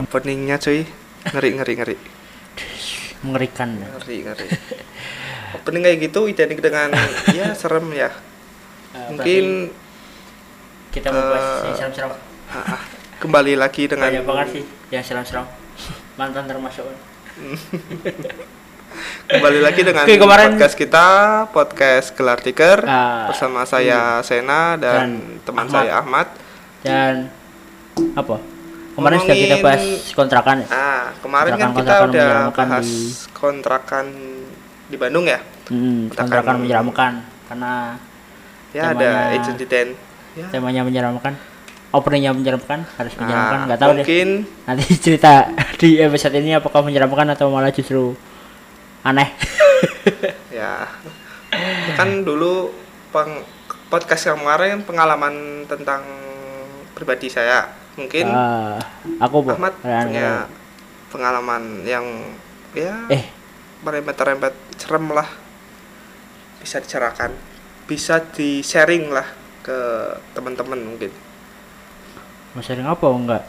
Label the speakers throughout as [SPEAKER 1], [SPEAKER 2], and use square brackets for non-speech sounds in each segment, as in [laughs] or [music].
[SPEAKER 1] openingnya cuy ngeri ngeri ngeri
[SPEAKER 2] mengerikan ya.
[SPEAKER 1] ngeri ngeri opening kayak gitu identik dengan ya serem ya
[SPEAKER 2] Eh,
[SPEAKER 1] mungkin
[SPEAKER 2] berarti kita mau
[SPEAKER 1] eh,
[SPEAKER 2] bahas yang serem-serem
[SPEAKER 1] ah, ah, kembali lagi dengan
[SPEAKER 2] banyak banget sih yang
[SPEAKER 1] [laughs]
[SPEAKER 2] serem-serem mantan termasuk
[SPEAKER 1] kembali lagi dengan
[SPEAKER 2] Oke, kemarin-
[SPEAKER 1] podcast kita podcast gelar tiker
[SPEAKER 2] Ah,
[SPEAKER 1] bersama saya Sena dan,
[SPEAKER 2] Dan
[SPEAKER 1] teman
[SPEAKER 2] Ahmad.
[SPEAKER 1] saya Ahmad
[SPEAKER 2] dan apa kemarin sudah kita
[SPEAKER 1] Ngomongin-
[SPEAKER 2] bahas kontrakan ya?
[SPEAKER 1] ah kemarin kan kita
[SPEAKER 2] Kontrakan-kontrakan
[SPEAKER 1] udah
[SPEAKER 2] menyeramkan
[SPEAKER 1] bahas
[SPEAKER 2] di-
[SPEAKER 1] kontrakan di Bandung ya
[SPEAKER 2] Hmm,
[SPEAKER 1] kontrakan-
[SPEAKER 2] kontrakan menyeramkan karena
[SPEAKER 1] ya ada
[SPEAKER 2] Temanya-
[SPEAKER 1] agent Diten ya
[SPEAKER 2] temanya menyeramkan openingnya menyeramkan harus menyeramkan
[SPEAKER 1] Ah,
[SPEAKER 2] nggak tahu deh
[SPEAKER 1] mungkin
[SPEAKER 2] nanti [laughs] cerita di episode ini apakah menyeramkan atau malah justru aneh
[SPEAKER 1] ya kan dulu peng- podcast yang kemarin pengalaman tentang pribadi saya mungkin
[SPEAKER 2] Eh, aku Bu.
[SPEAKER 1] Ahmad
[SPEAKER 2] Ran-
[SPEAKER 1] punya pengalaman yang ya
[SPEAKER 2] eh
[SPEAKER 1] merempet-rempet serem lah bisa dicarakan bisa di sharing lah ke teman-teman mungkin
[SPEAKER 2] mau sharing apa enggak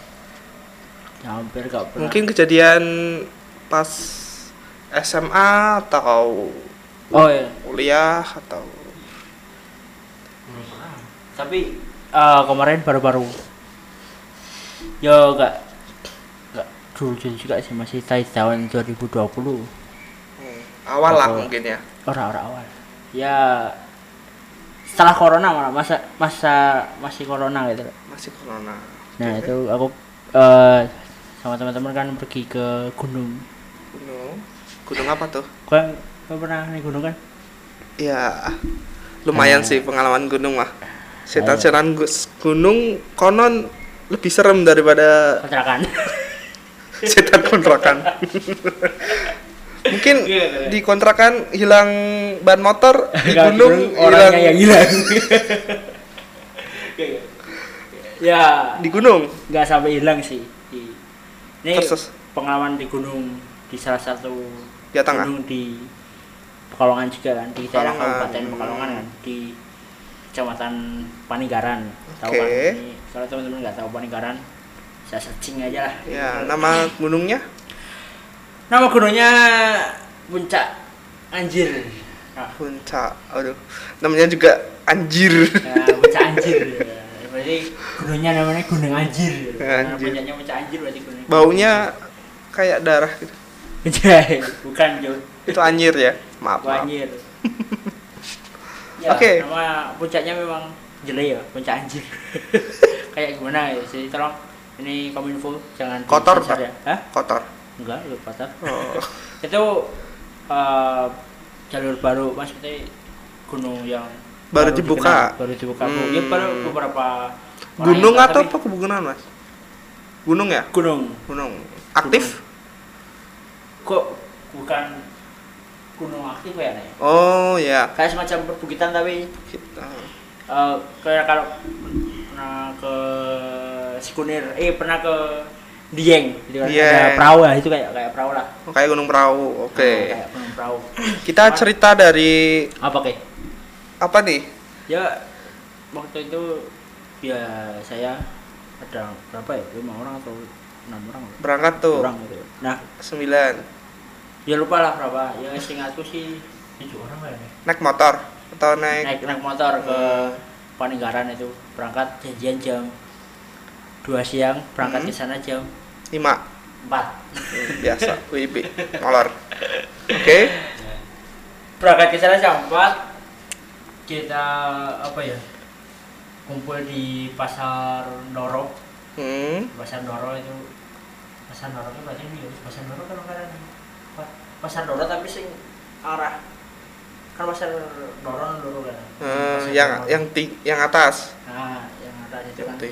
[SPEAKER 2] hampir gak pernah
[SPEAKER 1] mungkin kejadian pas SMA atau
[SPEAKER 2] oh iya.
[SPEAKER 1] kuliah atau
[SPEAKER 2] tapi eh, kemarin baru-baru yo enggak enggak dulu juga sih masih tai- tahun 2020
[SPEAKER 1] hmm, awal lah
[SPEAKER 2] Atau-
[SPEAKER 1] mungkin ya
[SPEAKER 2] orang-orang awal ya setelah corona malah masa masa masih corona gitu loh.
[SPEAKER 1] masih corona
[SPEAKER 2] nah itu aku eh, sama teman-teman kan pergi ke gunung
[SPEAKER 1] gunung gunung apa tuh
[SPEAKER 2] kau yang kau pernah naik gunung kan
[SPEAKER 1] ya lumayan sih pengalaman gunung mah setan-setan gus- gunung konon lebih serem daripada [laughs]
[SPEAKER 2] kontrakan
[SPEAKER 1] setan kontrakan [laughs] mungkin di kontrakan hilang ban [laughs] motor iya, di
[SPEAKER 2] Nggak,
[SPEAKER 1] gunung hilang
[SPEAKER 2] orangnya yang hilang
[SPEAKER 1] [laughs]
[SPEAKER 2] ya
[SPEAKER 1] di gunung
[SPEAKER 2] nggak sampai hilang sih Di- ini
[SPEAKER 1] Persis.
[SPEAKER 2] pengalaman di gunung di salah satu
[SPEAKER 1] Ya, Tengah.
[SPEAKER 2] gunung di Pekalongan juga kan di daerah
[SPEAKER 1] Pekalongan.
[SPEAKER 2] Kabupaten Pekalongan kan di Kecamatan Paninggaran tahu
[SPEAKER 1] Oke.
[SPEAKER 2] kan ini kalau teman-teman nggak tahu Paninggaran bisa searching aja lah
[SPEAKER 1] ya nama gunungnya
[SPEAKER 2] nama gunungnya Puncak Anjir Nah,
[SPEAKER 1] puncak aduh namanya juga [laughs] anjir
[SPEAKER 2] Ya, bocah anjir ya. berarti gunungnya namanya gunung anjir karena
[SPEAKER 1] Anjir.
[SPEAKER 2] puncaknya bocah anjir berarti gunung [laughs]
[SPEAKER 1] baunya kayak darah gitu
[SPEAKER 2] Anjay, bukan jo
[SPEAKER 1] itu anjir ya maaf, maaf. [laughs]
[SPEAKER 2] Gua anjir ya,
[SPEAKER 1] Oke.
[SPEAKER 2] nama puncaknya memang jelek ya puncak anjir [laughs] kayak gimana ya jadi tolong ini kominfo jangan
[SPEAKER 1] Kotor,
[SPEAKER 2] di-sensor ya Hah?
[SPEAKER 1] kotor
[SPEAKER 2] enggak ya kotor
[SPEAKER 1] oh.
[SPEAKER 2] itu eh, jalur baru maksudnya gunung yang
[SPEAKER 1] Baru dibuka.
[SPEAKER 2] dikenal, baru dibuka Bu. ya
[SPEAKER 1] Hmm.
[SPEAKER 2] baru beberapa orang
[SPEAKER 1] gunung
[SPEAKER 2] yang-
[SPEAKER 1] atau
[SPEAKER 2] tapi-
[SPEAKER 1] apa kebunan mas gunung ya
[SPEAKER 2] gunung
[SPEAKER 1] gunung aktif
[SPEAKER 2] kok bukan gunung aktif ya Nay?
[SPEAKER 1] oh ya
[SPEAKER 2] kayak semacam perbukitan tapi
[SPEAKER 1] kita
[SPEAKER 2] eh, kayak kalau pernah ke Sikunir eh pernah ke Dieng gitu kan ada
[SPEAKER 1] Dieng.
[SPEAKER 2] perahu lah itu kayak kayak perahu lah
[SPEAKER 1] Oh, kayak gunung perahu oke
[SPEAKER 2] Nah, kayak gunung perahu
[SPEAKER 1] kita cerita dari
[SPEAKER 2] apa kayak
[SPEAKER 1] apa nih
[SPEAKER 2] ya waktu itu ya saya ada berapa ya lima orang atau enam orang
[SPEAKER 1] berangkat tuh
[SPEAKER 2] orang gitu nah
[SPEAKER 1] sembilan
[SPEAKER 2] ya lupa lah berapa ya seingatku sih tujuh orang kayaknya
[SPEAKER 1] naik motor atau naik,
[SPEAKER 2] naik naik motor ke Paninggaran itu berangkat janjian jam 2 siang berangkat
[SPEAKER 1] Hmm.
[SPEAKER 2] ke sana jam
[SPEAKER 1] lima
[SPEAKER 2] 4
[SPEAKER 1] Hmm, biasa
[SPEAKER 2] [laughs]
[SPEAKER 1] WIB molor oke
[SPEAKER 2] berangkat ke sana jam 4 kita apa ya kumpul di pasar Ndoro
[SPEAKER 1] hmm.
[SPEAKER 2] pasar Ndoro itu pasar Ndoro itu berarti ini ya, pasar Ndoro kan karena pasar Ndoro tapi sing arah kan pasar Ndoro Ndoro
[SPEAKER 1] Eh,
[SPEAKER 2] kan Pasar
[SPEAKER 1] yang
[SPEAKER 2] Ndoro.
[SPEAKER 1] yang ting yang atas
[SPEAKER 2] nah yang ada itu
[SPEAKER 1] yang
[SPEAKER 2] kan
[SPEAKER 1] ting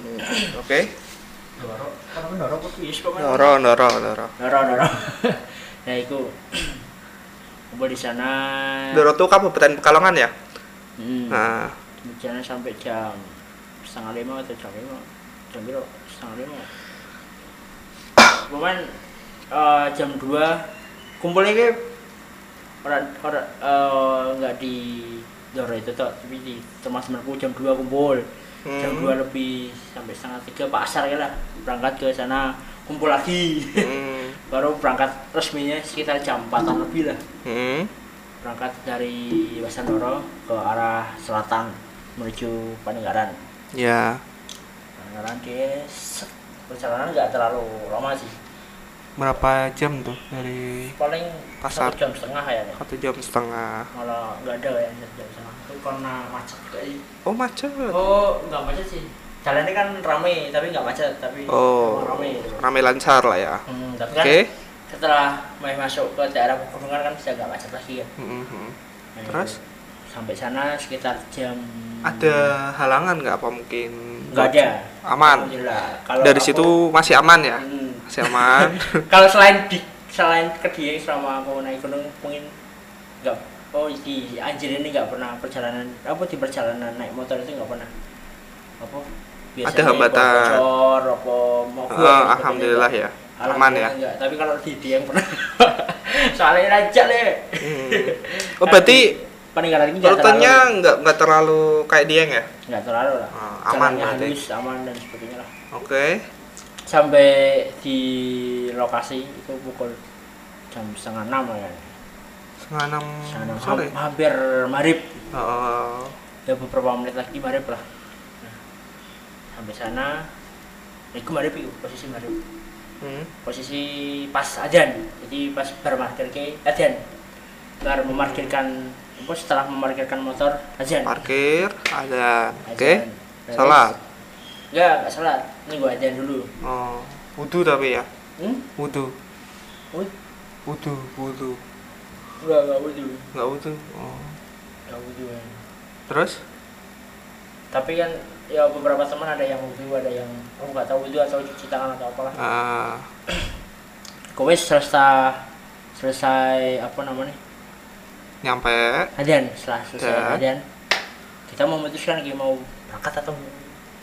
[SPEAKER 1] oke
[SPEAKER 2] Ndoro kan Ndoro kok yes kok kan?
[SPEAKER 1] noro noro noro
[SPEAKER 2] Doro, Doro. [laughs] ya itu. Kumpul di sana.
[SPEAKER 1] noro tuh Eh. kabupaten pekalongan ya
[SPEAKER 2] Hmm.
[SPEAKER 1] nah
[SPEAKER 2] Di sana sampai jam setengah lima atau jam lima. Jam berapa? Setengah lima. Cuman eh, jam dua kumpulnya ke orang orang eh, nggak di Doro itu toh, tapi di teman temanku jam dua kumpul. Jam
[SPEAKER 1] Hmm.
[SPEAKER 2] dua lebih sampai setengah tiga pasar ya lah berangkat ke sana kumpul lagi [laughs]
[SPEAKER 1] Hmm.
[SPEAKER 2] baru berangkat resminya sekitar jam 4 lebih lah
[SPEAKER 1] Hmm.
[SPEAKER 2] berangkat dari Basandoro ke arah selatan menuju Panenggaran
[SPEAKER 1] Ya,
[SPEAKER 2] Panenggaran dia set, perjalanan nggak terlalu lama sih
[SPEAKER 1] berapa jam tuh dari
[SPEAKER 2] paling
[SPEAKER 1] Pasar.
[SPEAKER 2] satu jam setengah ya
[SPEAKER 1] satu jam setengah?
[SPEAKER 2] malah nggak ada yang satu jam setengah itu karena macet kali
[SPEAKER 1] Oh macet.
[SPEAKER 2] oh nggak macet sih jalannya kan ramai tapi nggak macet tapi
[SPEAKER 1] Oh,
[SPEAKER 2] ramai gitu.
[SPEAKER 1] rame lancar lah ya.
[SPEAKER 2] Hmm, tapi
[SPEAKER 1] Oke.
[SPEAKER 2] kan setelah mulai masuk ke daerah pegunungan kan sudah nggak macet lagi ya
[SPEAKER 1] Hmm, hmm.
[SPEAKER 2] Nah,
[SPEAKER 1] Terus?
[SPEAKER 2] itu. sampai sana sekitar jam
[SPEAKER 1] Ada halangan nggak apa mungkin?
[SPEAKER 2] nggak ada
[SPEAKER 1] Aman.
[SPEAKER 2] Alhamdulillah. Kalau
[SPEAKER 1] Dari
[SPEAKER 2] aku-
[SPEAKER 1] situ masih aman ya?
[SPEAKER 2] Hmm.
[SPEAKER 1] Masih
[SPEAKER 2] [laughs]
[SPEAKER 1] aman.
[SPEAKER 2] Kalau selain di selain ke dia selama aku naik gunung mungkin nggak oh di Anjir ini nggak pernah perjalanan apa di perjalanan naik motor itu nggak pernah apa
[SPEAKER 1] Ada hambatan.
[SPEAKER 2] bawa bocor apa
[SPEAKER 1] Eh,
[SPEAKER 2] mogok dan
[SPEAKER 1] alhamdulillah ya.
[SPEAKER 2] sebagainya.
[SPEAKER 1] Aman ya.
[SPEAKER 2] Alhamdulillah nggak. tapi kalau di dia yang pernah [laughs] soalnya raja le
[SPEAKER 1] Hmm. Oh berarti
[SPEAKER 2] peninggalan ini nggak
[SPEAKER 1] rutenya
[SPEAKER 2] terlalu
[SPEAKER 1] nggak nggak terlalu kayak Dieng ya?
[SPEAKER 2] nggak terlalu lah
[SPEAKER 1] Ah, aman
[SPEAKER 2] Jalannya
[SPEAKER 1] berarti.
[SPEAKER 2] halus aman dan sebagainya lah
[SPEAKER 1] Oke.
[SPEAKER 2] sampai di lokasi itu pukul jam setengah enam lah ya
[SPEAKER 1] Setengah enam
[SPEAKER 2] setengah enam
[SPEAKER 1] Hmm, sore.
[SPEAKER 2] ha- hampir marib
[SPEAKER 1] Oh,
[SPEAKER 2] ya beberapa menit lagi marib lah nah, sampai sana itu marib itu posisi marib
[SPEAKER 1] hmm.
[SPEAKER 2] posisi pas ajan jadi pas bermarkir ke ajan bar memarkirkan apa, setelah memarkirkan motor ajan
[SPEAKER 1] Parkir ada.
[SPEAKER 2] Ajan.
[SPEAKER 1] Oke.
[SPEAKER 2] Terus-
[SPEAKER 1] Salat.
[SPEAKER 2] enggak enggak salat ini gua ajan dulu
[SPEAKER 1] Oh, wudu tapi ya.
[SPEAKER 2] hmm?
[SPEAKER 1] Wudu.
[SPEAKER 2] Wih,
[SPEAKER 1] Wudu, wudu.
[SPEAKER 2] enggak enggak wudhu
[SPEAKER 1] Enggak wudu. Oh.
[SPEAKER 2] enggak wudhu ya.
[SPEAKER 1] Terus?
[SPEAKER 2] tapi kan ya beberapa teman ada yang wudhu ada yang aku nggak tahu wudhu atau cuci tangan atau apalah
[SPEAKER 1] Ah,
[SPEAKER 2] kowe selesai selesai apa namanya
[SPEAKER 1] nyampe.
[SPEAKER 2] adan setelah selesai
[SPEAKER 1] Dan?
[SPEAKER 2] adan kita memutuskan kita mau berangkat atau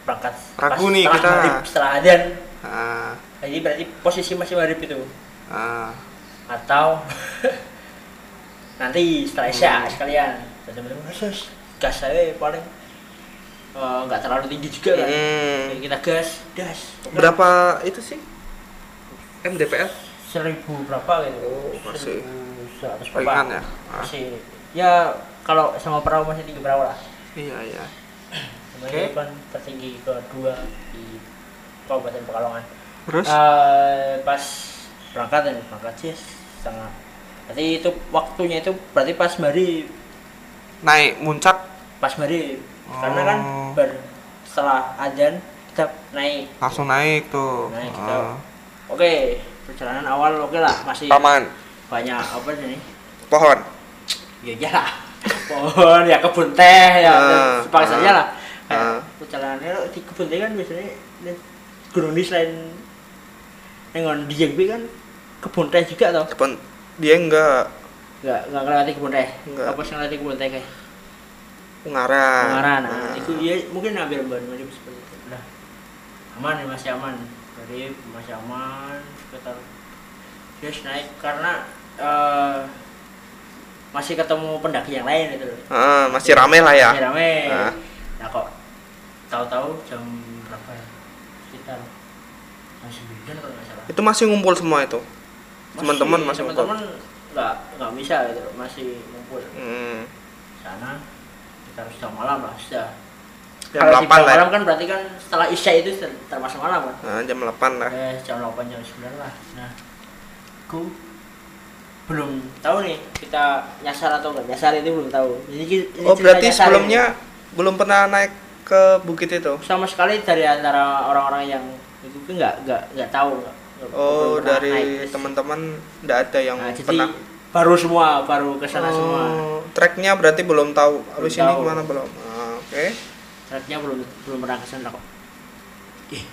[SPEAKER 2] berangkat
[SPEAKER 1] Ragu
[SPEAKER 2] Pas
[SPEAKER 1] nih
[SPEAKER 2] setelah
[SPEAKER 1] kita.
[SPEAKER 2] maghrib, setelah adan
[SPEAKER 1] Ah,
[SPEAKER 2] jadi berarti posisi masih maghrib itu
[SPEAKER 1] ah.
[SPEAKER 2] atau [laughs] nanti setelah isya
[SPEAKER 1] Hmm.
[SPEAKER 2] sekalian Tiba-tiba, "Sus, gas saya paling eh, nggak terlalu tinggi juga lah
[SPEAKER 1] Hmm.
[SPEAKER 2] kita gas das
[SPEAKER 1] Berapa itu sih? MDPL?
[SPEAKER 2] seribu berapa gitu
[SPEAKER 1] Oh, masih
[SPEAKER 2] seratus
[SPEAKER 1] Ringan
[SPEAKER 2] berapa
[SPEAKER 1] ya? Ah,
[SPEAKER 2] masih ya kalau sama perahu masih tinggi perahu lah
[SPEAKER 1] iya, iya.
[SPEAKER 2] Oke. kan tertinggi kedua di Kabupaten Pekalongan
[SPEAKER 1] Terus?
[SPEAKER 2] Eh, pas berangkat dan berangkat sih setengah berarti itu waktunya itu berarti pas mari
[SPEAKER 1] Naik muncak
[SPEAKER 2] pas mari karena kan
[SPEAKER 1] Oh.
[SPEAKER 2] ber- setelah ajan kita naik
[SPEAKER 1] langsung naik tuh.
[SPEAKER 2] Naik, kita. iya.
[SPEAKER 1] Ah.
[SPEAKER 2] oke perjalanan awal oke lah masih
[SPEAKER 1] Taman,
[SPEAKER 2] banyak apa nih
[SPEAKER 1] pohon.
[SPEAKER 2] ya iyalah pohon ya kebun teh ya
[SPEAKER 1] Ah,
[SPEAKER 2] sepaksa
[SPEAKER 1] ah,
[SPEAKER 2] aja lah
[SPEAKER 1] ah.
[SPEAKER 2] kayak perjalanannya lo di kebun teh kan biasanya di gunung di selain nengon di Jengbi kan kebun teh juga toh
[SPEAKER 1] Depan dia enggak
[SPEAKER 2] nggak nggak ngelewati kebun teh
[SPEAKER 1] Nggak.
[SPEAKER 2] apa sih ngelewati kebun teh kayak
[SPEAKER 1] Ungaran.
[SPEAKER 2] pengaran nah,
[SPEAKER 1] Ah.
[SPEAKER 2] itu dia mungkin hampir baru baru seperti itu lah aman ya masih aman jadi masih aman sekitar dia naik karena eh, masih ketemu pendaki yang lain gitu loh
[SPEAKER 1] Ah, masih rame lah ya.
[SPEAKER 2] Masih rame.
[SPEAKER 1] Ah.
[SPEAKER 2] Nah kok tahu-tahu jam berapa ya? Sekitar jam 9 kalau nggak salah.
[SPEAKER 1] Itu masih ngumpul semua itu. Eh, teman-teman masih ngumpul.
[SPEAKER 2] teman-teman nggak nggak bisa gitu loh, masih ngumpul
[SPEAKER 1] Hmm.
[SPEAKER 2] sana kita harus jam malam lah sudah
[SPEAKER 1] Jam
[SPEAKER 2] kalau di
[SPEAKER 1] 8 lah ya.
[SPEAKER 2] malam kan berarti kan setelah isya itu ter- termasuk malam kan
[SPEAKER 1] Ah, jam 8 lah.
[SPEAKER 2] eh, jam 8 jam 9 lah nah aku belum tahu nih kita nyasar atau nggak nyasar itu belum tahu jadi ki- ini
[SPEAKER 1] Oh,
[SPEAKER 2] cerita
[SPEAKER 1] berarti
[SPEAKER 2] nyasar ini.
[SPEAKER 1] sebelumnya belum pernah naik ke bukit itu.
[SPEAKER 2] sama sekali dari antara orang-orang yang itu tuh nggak nggak nggak tahu nggak- nggak-
[SPEAKER 1] Oh,
[SPEAKER 2] belum pernah
[SPEAKER 1] dari
[SPEAKER 2] naik.
[SPEAKER 1] teman-teman enggak ada yang
[SPEAKER 2] Nah, jadi
[SPEAKER 1] pernah.
[SPEAKER 2] baru semua baru ke sana semua
[SPEAKER 1] Oh, Treknya berarti belum tahu. Habis
[SPEAKER 2] Belum
[SPEAKER 1] ini
[SPEAKER 2] tahu.
[SPEAKER 1] kemana belum? Ah, Oke.
[SPEAKER 2] tracknya belum belum pernah ke sana kok ih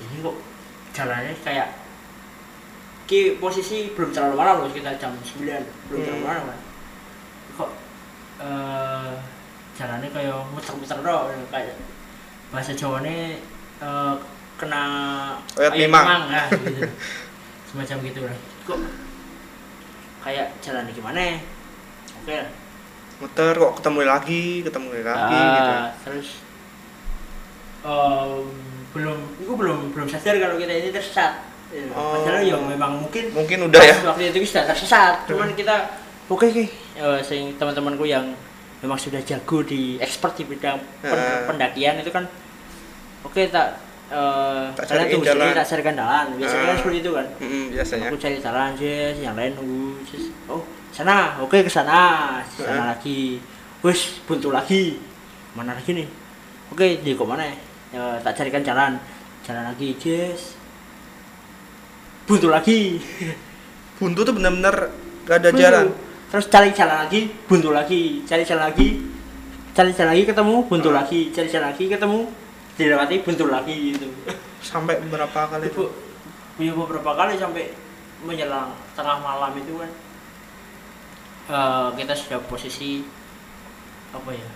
[SPEAKER 2] ini kok jalannya kayak ki posisi belum terlalu malam loh kita jam 9 belum
[SPEAKER 1] Hmm.
[SPEAKER 2] terlalu malam kan kok eh jalannya kayak muter-muter doang kayak bahasa Jawanya eh, kena
[SPEAKER 1] Oyot
[SPEAKER 2] ayam
[SPEAKER 1] limang.
[SPEAKER 2] nah, gitu. semacam gitu lah kok kayak jalannya gimana oke lah
[SPEAKER 1] Muter kok ketemu lagi, ketemu lagi
[SPEAKER 2] Ah,
[SPEAKER 1] gitu.
[SPEAKER 2] terus em, belum itu belum belum sadar kalau kita ini tersesat Iya,
[SPEAKER 1] Oh.
[SPEAKER 2] Padahal ya memang mungkin
[SPEAKER 1] Mungkin udah
[SPEAKER 2] [laughs]
[SPEAKER 1] ya.
[SPEAKER 2] pas waktu itu kita tersesat. Cuman kita
[SPEAKER 1] Oke, oke.
[SPEAKER 2] eh, sing teman-temanku yang memang sudah jago di expert di bidang pen-
[SPEAKER 1] Nah.
[SPEAKER 2] pendakian itu kan oke tak eh
[SPEAKER 1] Tak
[SPEAKER 2] kalian
[SPEAKER 1] cariin
[SPEAKER 2] tunggu sini,
[SPEAKER 1] jalan.
[SPEAKER 2] tak carikan jalan biasanya kan
[SPEAKER 1] Nah.
[SPEAKER 2] seperti itu kan
[SPEAKER 1] Mm, biasanya.
[SPEAKER 2] aku cari jalan sis yang lain nunggu sis oh sana oke ke sana sana
[SPEAKER 1] Nah.
[SPEAKER 2] lagi wes buntu lagi mana lagi nih oke di kok mana ya? ya tak carikan jalan jalan lagi sis buntu lagi
[SPEAKER 1] Buntu tuh benar-benar gak ada
[SPEAKER 2] Buntu.
[SPEAKER 1] jalan.
[SPEAKER 2] terus cari jalan lagi buntu lagi cari jalan lagi cari jalan lagi ketemu buntu
[SPEAKER 1] Ah.
[SPEAKER 2] lagi cari jalan lagi ketemu dilewati buntu lagi gitu
[SPEAKER 1] Sampai berapa kali itu?
[SPEAKER 2] itu punya ya beberapa kali sampai menjelang tengah malam itu kan eh, kita sudah posisi apa ya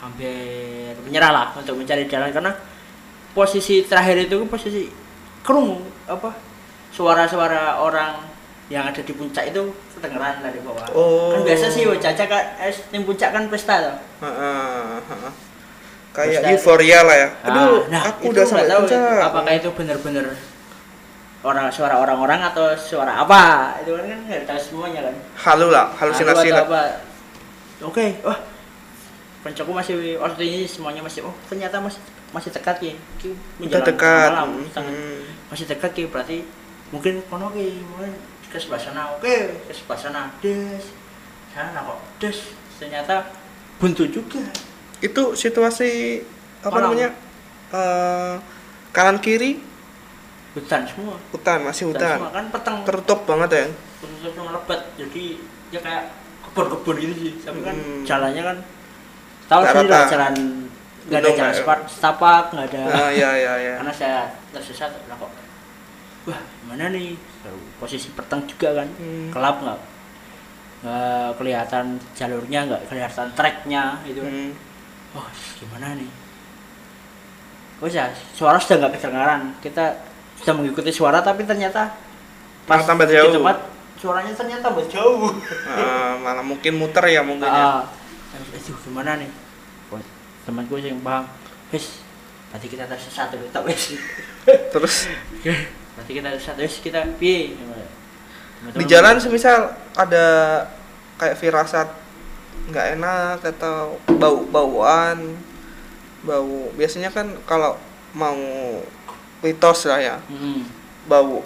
[SPEAKER 2] hampir menyerah lah untuk mencari jalan karena posisi terakhir itu kan posisi kerungu apa suara-suara orang yang ada di puncak itu kedengeran dari bawah
[SPEAKER 1] Oh.
[SPEAKER 2] kan biasa sih wajah kan eh, tim puncak kan pesta tuh
[SPEAKER 1] Heeh, heeh. Kayak
[SPEAKER 2] Terus
[SPEAKER 1] euforia lah ya. Aduh,
[SPEAKER 2] Ah, nah,
[SPEAKER 1] aku udah
[SPEAKER 2] itu nggak
[SPEAKER 1] sampai
[SPEAKER 2] tahu
[SPEAKER 1] puncak.
[SPEAKER 2] itu Apakah itu benar-benar orang suara orang-orang atau suara apa? Itu kan kan nggak tahu semuanya kan.
[SPEAKER 1] Halu lah, halusinasi
[SPEAKER 2] Atau-
[SPEAKER 1] lah.
[SPEAKER 2] atau apa. Oke, wah. Pencoku masih waktu ini semuanya masih oh ternyata masih masih dekat ya. Ki
[SPEAKER 1] Udah
[SPEAKER 2] menjelang
[SPEAKER 1] dekat.
[SPEAKER 2] malam, sangat-
[SPEAKER 1] Mm.
[SPEAKER 2] masih dekat ki berarti mungkin kono ki mungkin ke sebelah sana. Oke, ke sebelah sana. Des. Sana kok. Des. Ternyata buntu juga.
[SPEAKER 1] Itu situasi apa
[SPEAKER 2] Malam.
[SPEAKER 1] namanya? Eh, kanan kiri
[SPEAKER 2] Hutan semua.
[SPEAKER 1] hutan, masih
[SPEAKER 2] Hutan semua
[SPEAKER 1] hutan.
[SPEAKER 2] kan peteng.
[SPEAKER 1] Tertutup banget ya.
[SPEAKER 2] khususnya cuma lebat jadi ya kayak kebun-kebun gitu sih tapi kan
[SPEAKER 1] Hmm.
[SPEAKER 2] jalannya kan tahu
[SPEAKER 1] Nggak
[SPEAKER 2] sih lah
[SPEAKER 1] rata.
[SPEAKER 2] jalan nggak
[SPEAKER 1] Gunung
[SPEAKER 2] ada jalan
[SPEAKER 1] nggak-
[SPEAKER 2] sepat- setapak nggak ada
[SPEAKER 1] Ah, ya ya ya.
[SPEAKER 2] karena saya tersesat lah kok wah mana nih posisi petang juga kan
[SPEAKER 1] Hmm.
[SPEAKER 2] gelap nggak nggak kelihatan jalurnya nggak kelihatan treknya gitu kan.
[SPEAKER 1] Hmm.
[SPEAKER 2] wah gimana nih Wes ya, suara sudah nggak kedengaran. Kita sudah mengikuti suara tapi ternyata
[SPEAKER 1] Malah tambah
[SPEAKER 2] di
[SPEAKER 1] jauh.
[SPEAKER 2] tempat suaranya ternyata tambah jauh.
[SPEAKER 1] Ah, malah mungkin muter ya mungkin ya.
[SPEAKER 2] Ah, aduh gimana nih? Temanku sih yang paham. Wis, berarti kita tersesat dulu tak wis.
[SPEAKER 1] Terus
[SPEAKER 2] Berarti kita tersesat wis kita piye?
[SPEAKER 1] di jalan semisal ada kayak firasat nggak enak atau bau bauan bau biasanya kan kalau mau mitos lah ya
[SPEAKER 2] Hmm.
[SPEAKER 1] bau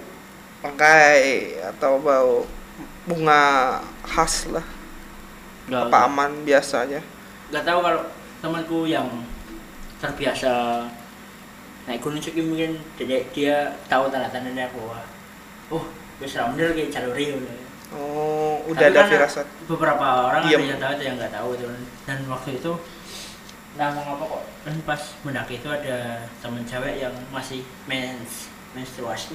[SPEAKER 1] bangkai atau bau bunga khas lah
[SPEAKER 2] Enggak,
[SPEAKER 1] apa aman biasa aja
[SPEAKER 2] nggak tahu kalau temanku yang terbiasa naik gunung Suki mungkin dia, dia tahu tanda-tandanya bahwa oh wis ra bener kayak jalur Rio
[SPEAKER 1] oh
[SPEAKER 2] Tapi
[SPEAKER 1] udah ada
[SPEAKER 2] kan
[SPEAKER 1] firasat
[SPEAKER 2] beberapa orang
[SPEAKER 1] Diam.
[SPEAKER 2] ada yang tahu ada yang nggak tahu itu dan waktu itu nah mau ngapa kok kan pas mendaki itu ada teman cewek yang masih mens menstruasi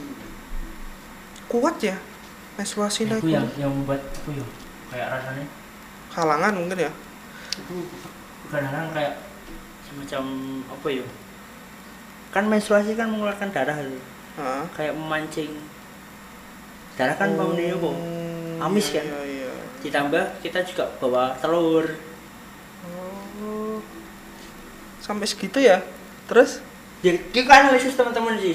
[SPEAKER 1] kuat ya menstruasi naik
[SPEAKER 2] itu yang yang membuat aku ya kayak rasanya
[SPEAKER 1] halangan mungkin ya
[SPEAKER 2] itu kadang-kadang kayak semacam apa ya kan menstruasi kan mengeluarkan darah itu
[SPEAKER 1] Ah.
[SPEAKER 2] kayak memancing darah kan
[SPEAKER 1] Oh,
[SPEAKER 2] baunya apa Amis
[SPEAKER 1] iya,
[SPEAKER 2] kan?
[SPEAKER 1] iya, iya.
[SPEAKER 2] ditambah kita juga bawa telur
[SPEAKER 1] Oh. sampai segitu ya terus
[SPEAKER 2] ya kita analisis teman-teman sih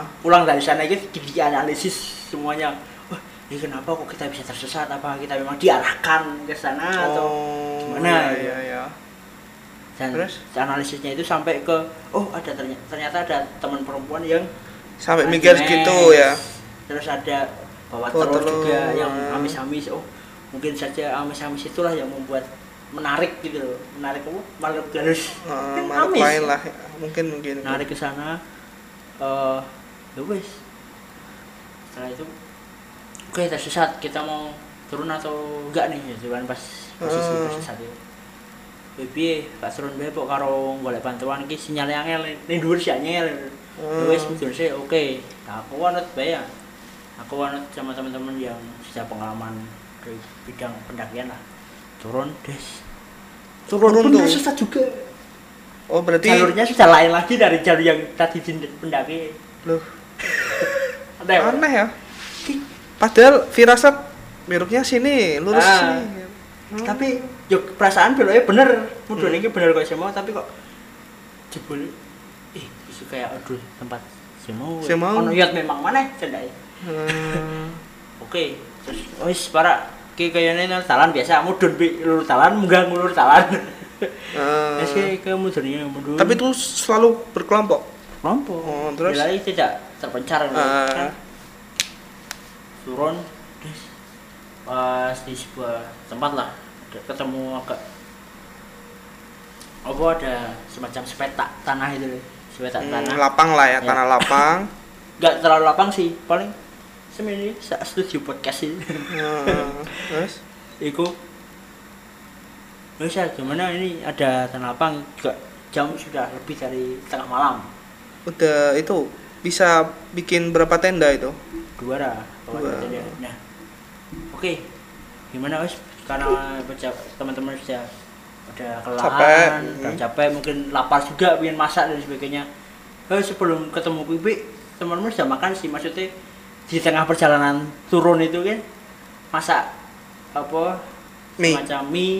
[SPEAKER 1] Ah.
[SPEAKER 2] pulang dari sana itu di di- analisis semuanya wah ini kenapa kok kita bisa tersesat apa kita memang diarahkan ke sana atau
[SPEAKER 1] Nah, oh
[SPEAKER 2] nah, gimana
[SPEAKER 1] iya,
[SPEAKER 2] gitu.
[SPEAKER 1] iya, iya.
[SPEAKER 2] dan
[SPEAKER 1] terus?
[SPEAKER 2] analisisnya itu sampai ke oh ada ternyata, ternyata ada teman perempuan yang
[SPEAKER 1] sampai
[SPEAKER 2] Anti
[SPEAKER 1] mikir
[SPEAKER 2] mes.
[SPEAKER 1] segitu ya
[SPEAKER 2] terus ada bawa
[SPEAKER 1] Bawa
[SPEAKER 2] telur,
[SPEAKER 1] telur,
[SPEAKER 2] juga yang
[SPEAKER 1] ah.
[SPEAKER 2] amis-amis oh mungkin saja amis-amis itulah yang membuat menarik gitu loh menarik apa makhluk galus
[SPEAKER 1] Ah,
[SPEAKER 2] Kan
[SPEAKER 1] makhluk
[SPEAKER 2] amis.
[SPEAKER 1] lain lah mungkin mungkin
[SPEAKER 2] menarik ke sana eh ya wes setelah itu oke kita sesat kita mau turun atau enggak nih gitu kan pas posisi
[SPEAKER 1] Ah.
[SPEAKER 2] tersesat itu Bibi, Ya, gak turun bae pok karo golek bantuan iki sinyalnya angel, ning dhuwur sih angel.
[SPEAKER 1] Ah.
[SPEAKER 2] Ya Wis mundur sih, oke. Nah, aku wanut bae ya. Aku wanut sama teman-teman yang sudah pengalaman di bidang pendakian lah. Turun, Des.
[SPEAKER 1] Turun
[SPEAKER 2] pun
[SPEAKER 1] tuh.
[SPEAKER 2] sesat juga
[SPEAKER 1] oh berarti
[SPEAKER 2] jalurnya sudah lain lagi dari jalur yang tadi di pendaki
[SPEAKER 1] loh
[SPEAKER 2] ada ya
[SPEAKER 1] aneh ya padahal firasat beloknya sini lurus
[SPEAKER 2] Ah.
[SPEAKER 1] sini Hmm.
[SPEAKER 2] tapi yuk perasaan beloknya bener mundur ini bener kok semua tapi kok jebol ih itu kayak aduh tempat si mau
[SPEAKER 1] Si mau.
[SPEAKER 2] ono yat memang mana cedai Hmm.
[SPEAKER 1] Eh,
[SPEAKER 2] oke terus wis para ki kayane nang talan biasa mudun bi lur talan munggah ngulur talan
[SPEAKER 1] eh,
[SPEAKER 2] wis ki ke mudunnya mudun
[SPEAKER 1] tapi itu selalu berkelompok
[SPEAKER 2] kelompok
[SPEAKER 1] Oh, terus?
[SPEAKER 2] terus Bila tidak terpencar
[SPEAKER 1] Ah.
[SPEAKER 2] kan turun terus pas di sebuah tempat lah ada- ketemu agak apa ada semacam sepetak tanah itu loh. sepetak
[SPEAKER 1] Hmm,
[SPEAKER 2] tanah
[SPEAKER 1] lapang lah ya,
[SPEAKER 2] Ya.
[SPEAKER 1] tanah
[SPEAKER 2] [laughs]
[SPEAKER 1] lapang
[SPEAKER 2] nggak terlalu lapang sih paling semini sa studio podcast sih
[SPEAKER 1] Eh, terus
[SPEAKER 2] [laughs] Iku Bisa gimana ini ada tanah lapang juga jam sudah lebih dari tengah malam
[SPEAKER 1] udah itu bisa bikin berapa tenda itu
[SPEAKER 2] dua lah kalau
[SPEAKER 1] Dua.
[SPEAKER 2] ada dia. Nah, oke gimana wes karena baca- teman-teman sudah udah kelelahan,
[SPEAKER 1] Capek,
[SPEAKER 2] udah
[SPEAKER 1] mm.
[SPEAKER 2] capek mungkin lapar juga pengen masak dan sebagainya. Eh sebelum ketemu Pipi, teman-teman sudah makan sih maksudnya di tengah perjalanan turun itu kan masak apa
[SPEAKER 1] Mie.
[SPEAKER 2] semacam mie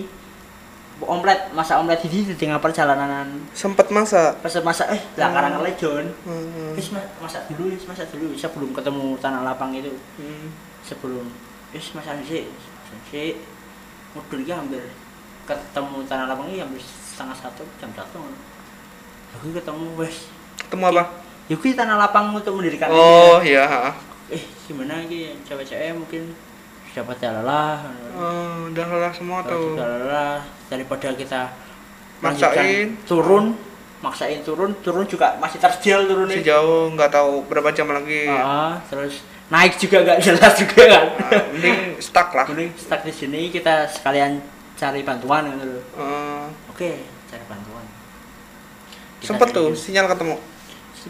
[SPEAKER 2] omlet masak omlet ini di tengah perjalanan
[SPEAKER 1] sempet masa
[SPEAKER 2] pas masak eh lah
[SPEAKER 1] Hmm.
[SPEAKER 2] karang lejon
[SPEAKER 1] Hmm,
[SPEAKER 2] wis ma- masak dulu wis masak dulu sebelum ketemu tanah lapang itu
[SPEAKER 1] hmm.
[SPEAKER 2] sebelum wis masak sih sih mudun ya hampir ketemu tanah lapang ini hampir setengah satu jam satu aku ketemu wes
[SPEAKER 1] ketemu apa
[SPEAKER 2] yuk kita tanah lapang untuk mendirikan
[SPEAKER 1] oh iya ha.
[SPEAKER 2] ini. eh gimana ini cewek-cewek mungkin sudah pada lelah
[SPEAKER 1] Oh, udah lelah semua tuh
[SPEAKER 2] sudah lelah daripada kita
[SPEAKER 1] Maksain.
[SPEAKER 2] lanjutkan turun maksain turun turun juga masih terjal turunnya
[SPEAKER 1] sejauh nggak tahu berapa jam lagi
[SPEAKER 2] Ah, terus naik juga nggak jelas juga kan
[SPEAKER 1] Ah, mending stuck
[SPEAKER 2] [laughs]
[SPEAKER 1] lah
[SPEAKER 2] Mending stuck di sini kita sekalian cari bantuan gitu loh.
[SPEAKER 1] Eh,
[SPEAKER 2] Oke, cari bantuan. Kita
[SPEAKER 1] sempet
[SPEAKER 2] cari
[SPEAKER 1] tuh
[SPEAKER 2] dulu.
[SPEAKER 1] sinyal ketemu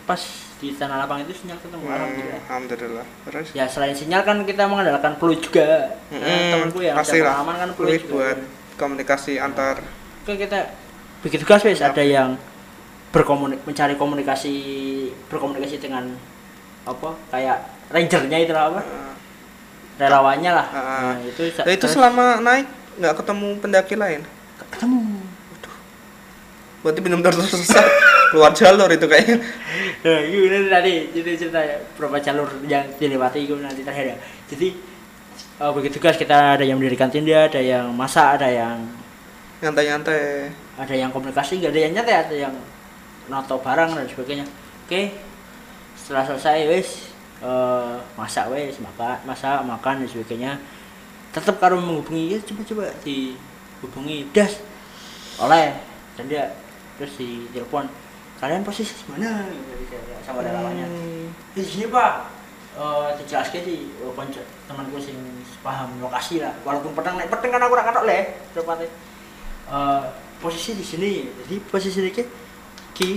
[SPEAKER 2] Pas di tanah lapang itu sinyal ketemu
[SPEAKER 1] Hmm,
[SPEAKER 2] alhamdulillah.
[SPEAKER 1] alhamdulillah terus
[SPEAKER 2] Ya selain sinyal kan kita mengandalkan peluit juga. Nah,
[SPEAKER 1] Mm-mm,
[SPEAKER 2] temanku yang
[SPEAKER 1] Hmm, pasti
[SPEAKER 2] udah
[SPEAKER 1] lah
[SPEAKER 2] pengalaman kan peluit
[SPEAKER 1] peluit
[SPEAKER 2] juga.
[SPEAKER 1] buat komunikasi antar
[SPEAKER 2] Oke kita bikin tugas wes
[SPEAKER 1] Yap.
[SPEAKER 2] ada yang berkomunik mencari komunikasi berkomunikasi dengan apa kayak rangernya itu lah apa
[SPEAKER 1] Eh,
[SPEAKER 2] relawannya lah
[SPEAKER 1] Ah.
[SPEAKER 2] Nah, itu
[SPEAKER 1] nah, itu
[SPEAKER 2] terus
[SPEAKER 1] selama naik nggak ketemu pendaki lain
[SPEAKER 2] ketemu
[SPEAKER 1] berarti benar-benar [laughs] tersesat keluar jalur itu kayaknya
[SPEAKER 2] Nah, itu nanti tadi jadi cerita berapa jalur yang dilewati itu nanti terakhir ya. Jadi eh, begitu guys kita ada yang mendirikan tenda, ada yang masak, ada yang
[SPEAKER 1] nyantai-nyantai
[SPEAKER 2] ada yang komunikasi, nggak ada yang nyata, ada yang noto barang dan sebagainya. Oke, setelah selesai wes eh, masak wes maka masak makan dan sebagainya. Tetap kalau menghubungi ya coba-coba dihubungi das oleh tenda terus di telepon kalian posisi di mana sama relawannya
[SPEAKER 1] Hmm.
[SPEAKER 2] di sini pak eh dijelaskan sih eh, konco temanku sing paham lokasi lah walaupun pedang naik pedang kan aku ora katok le tepatnya Eh posisi di sini jadi posisi ini ki- ki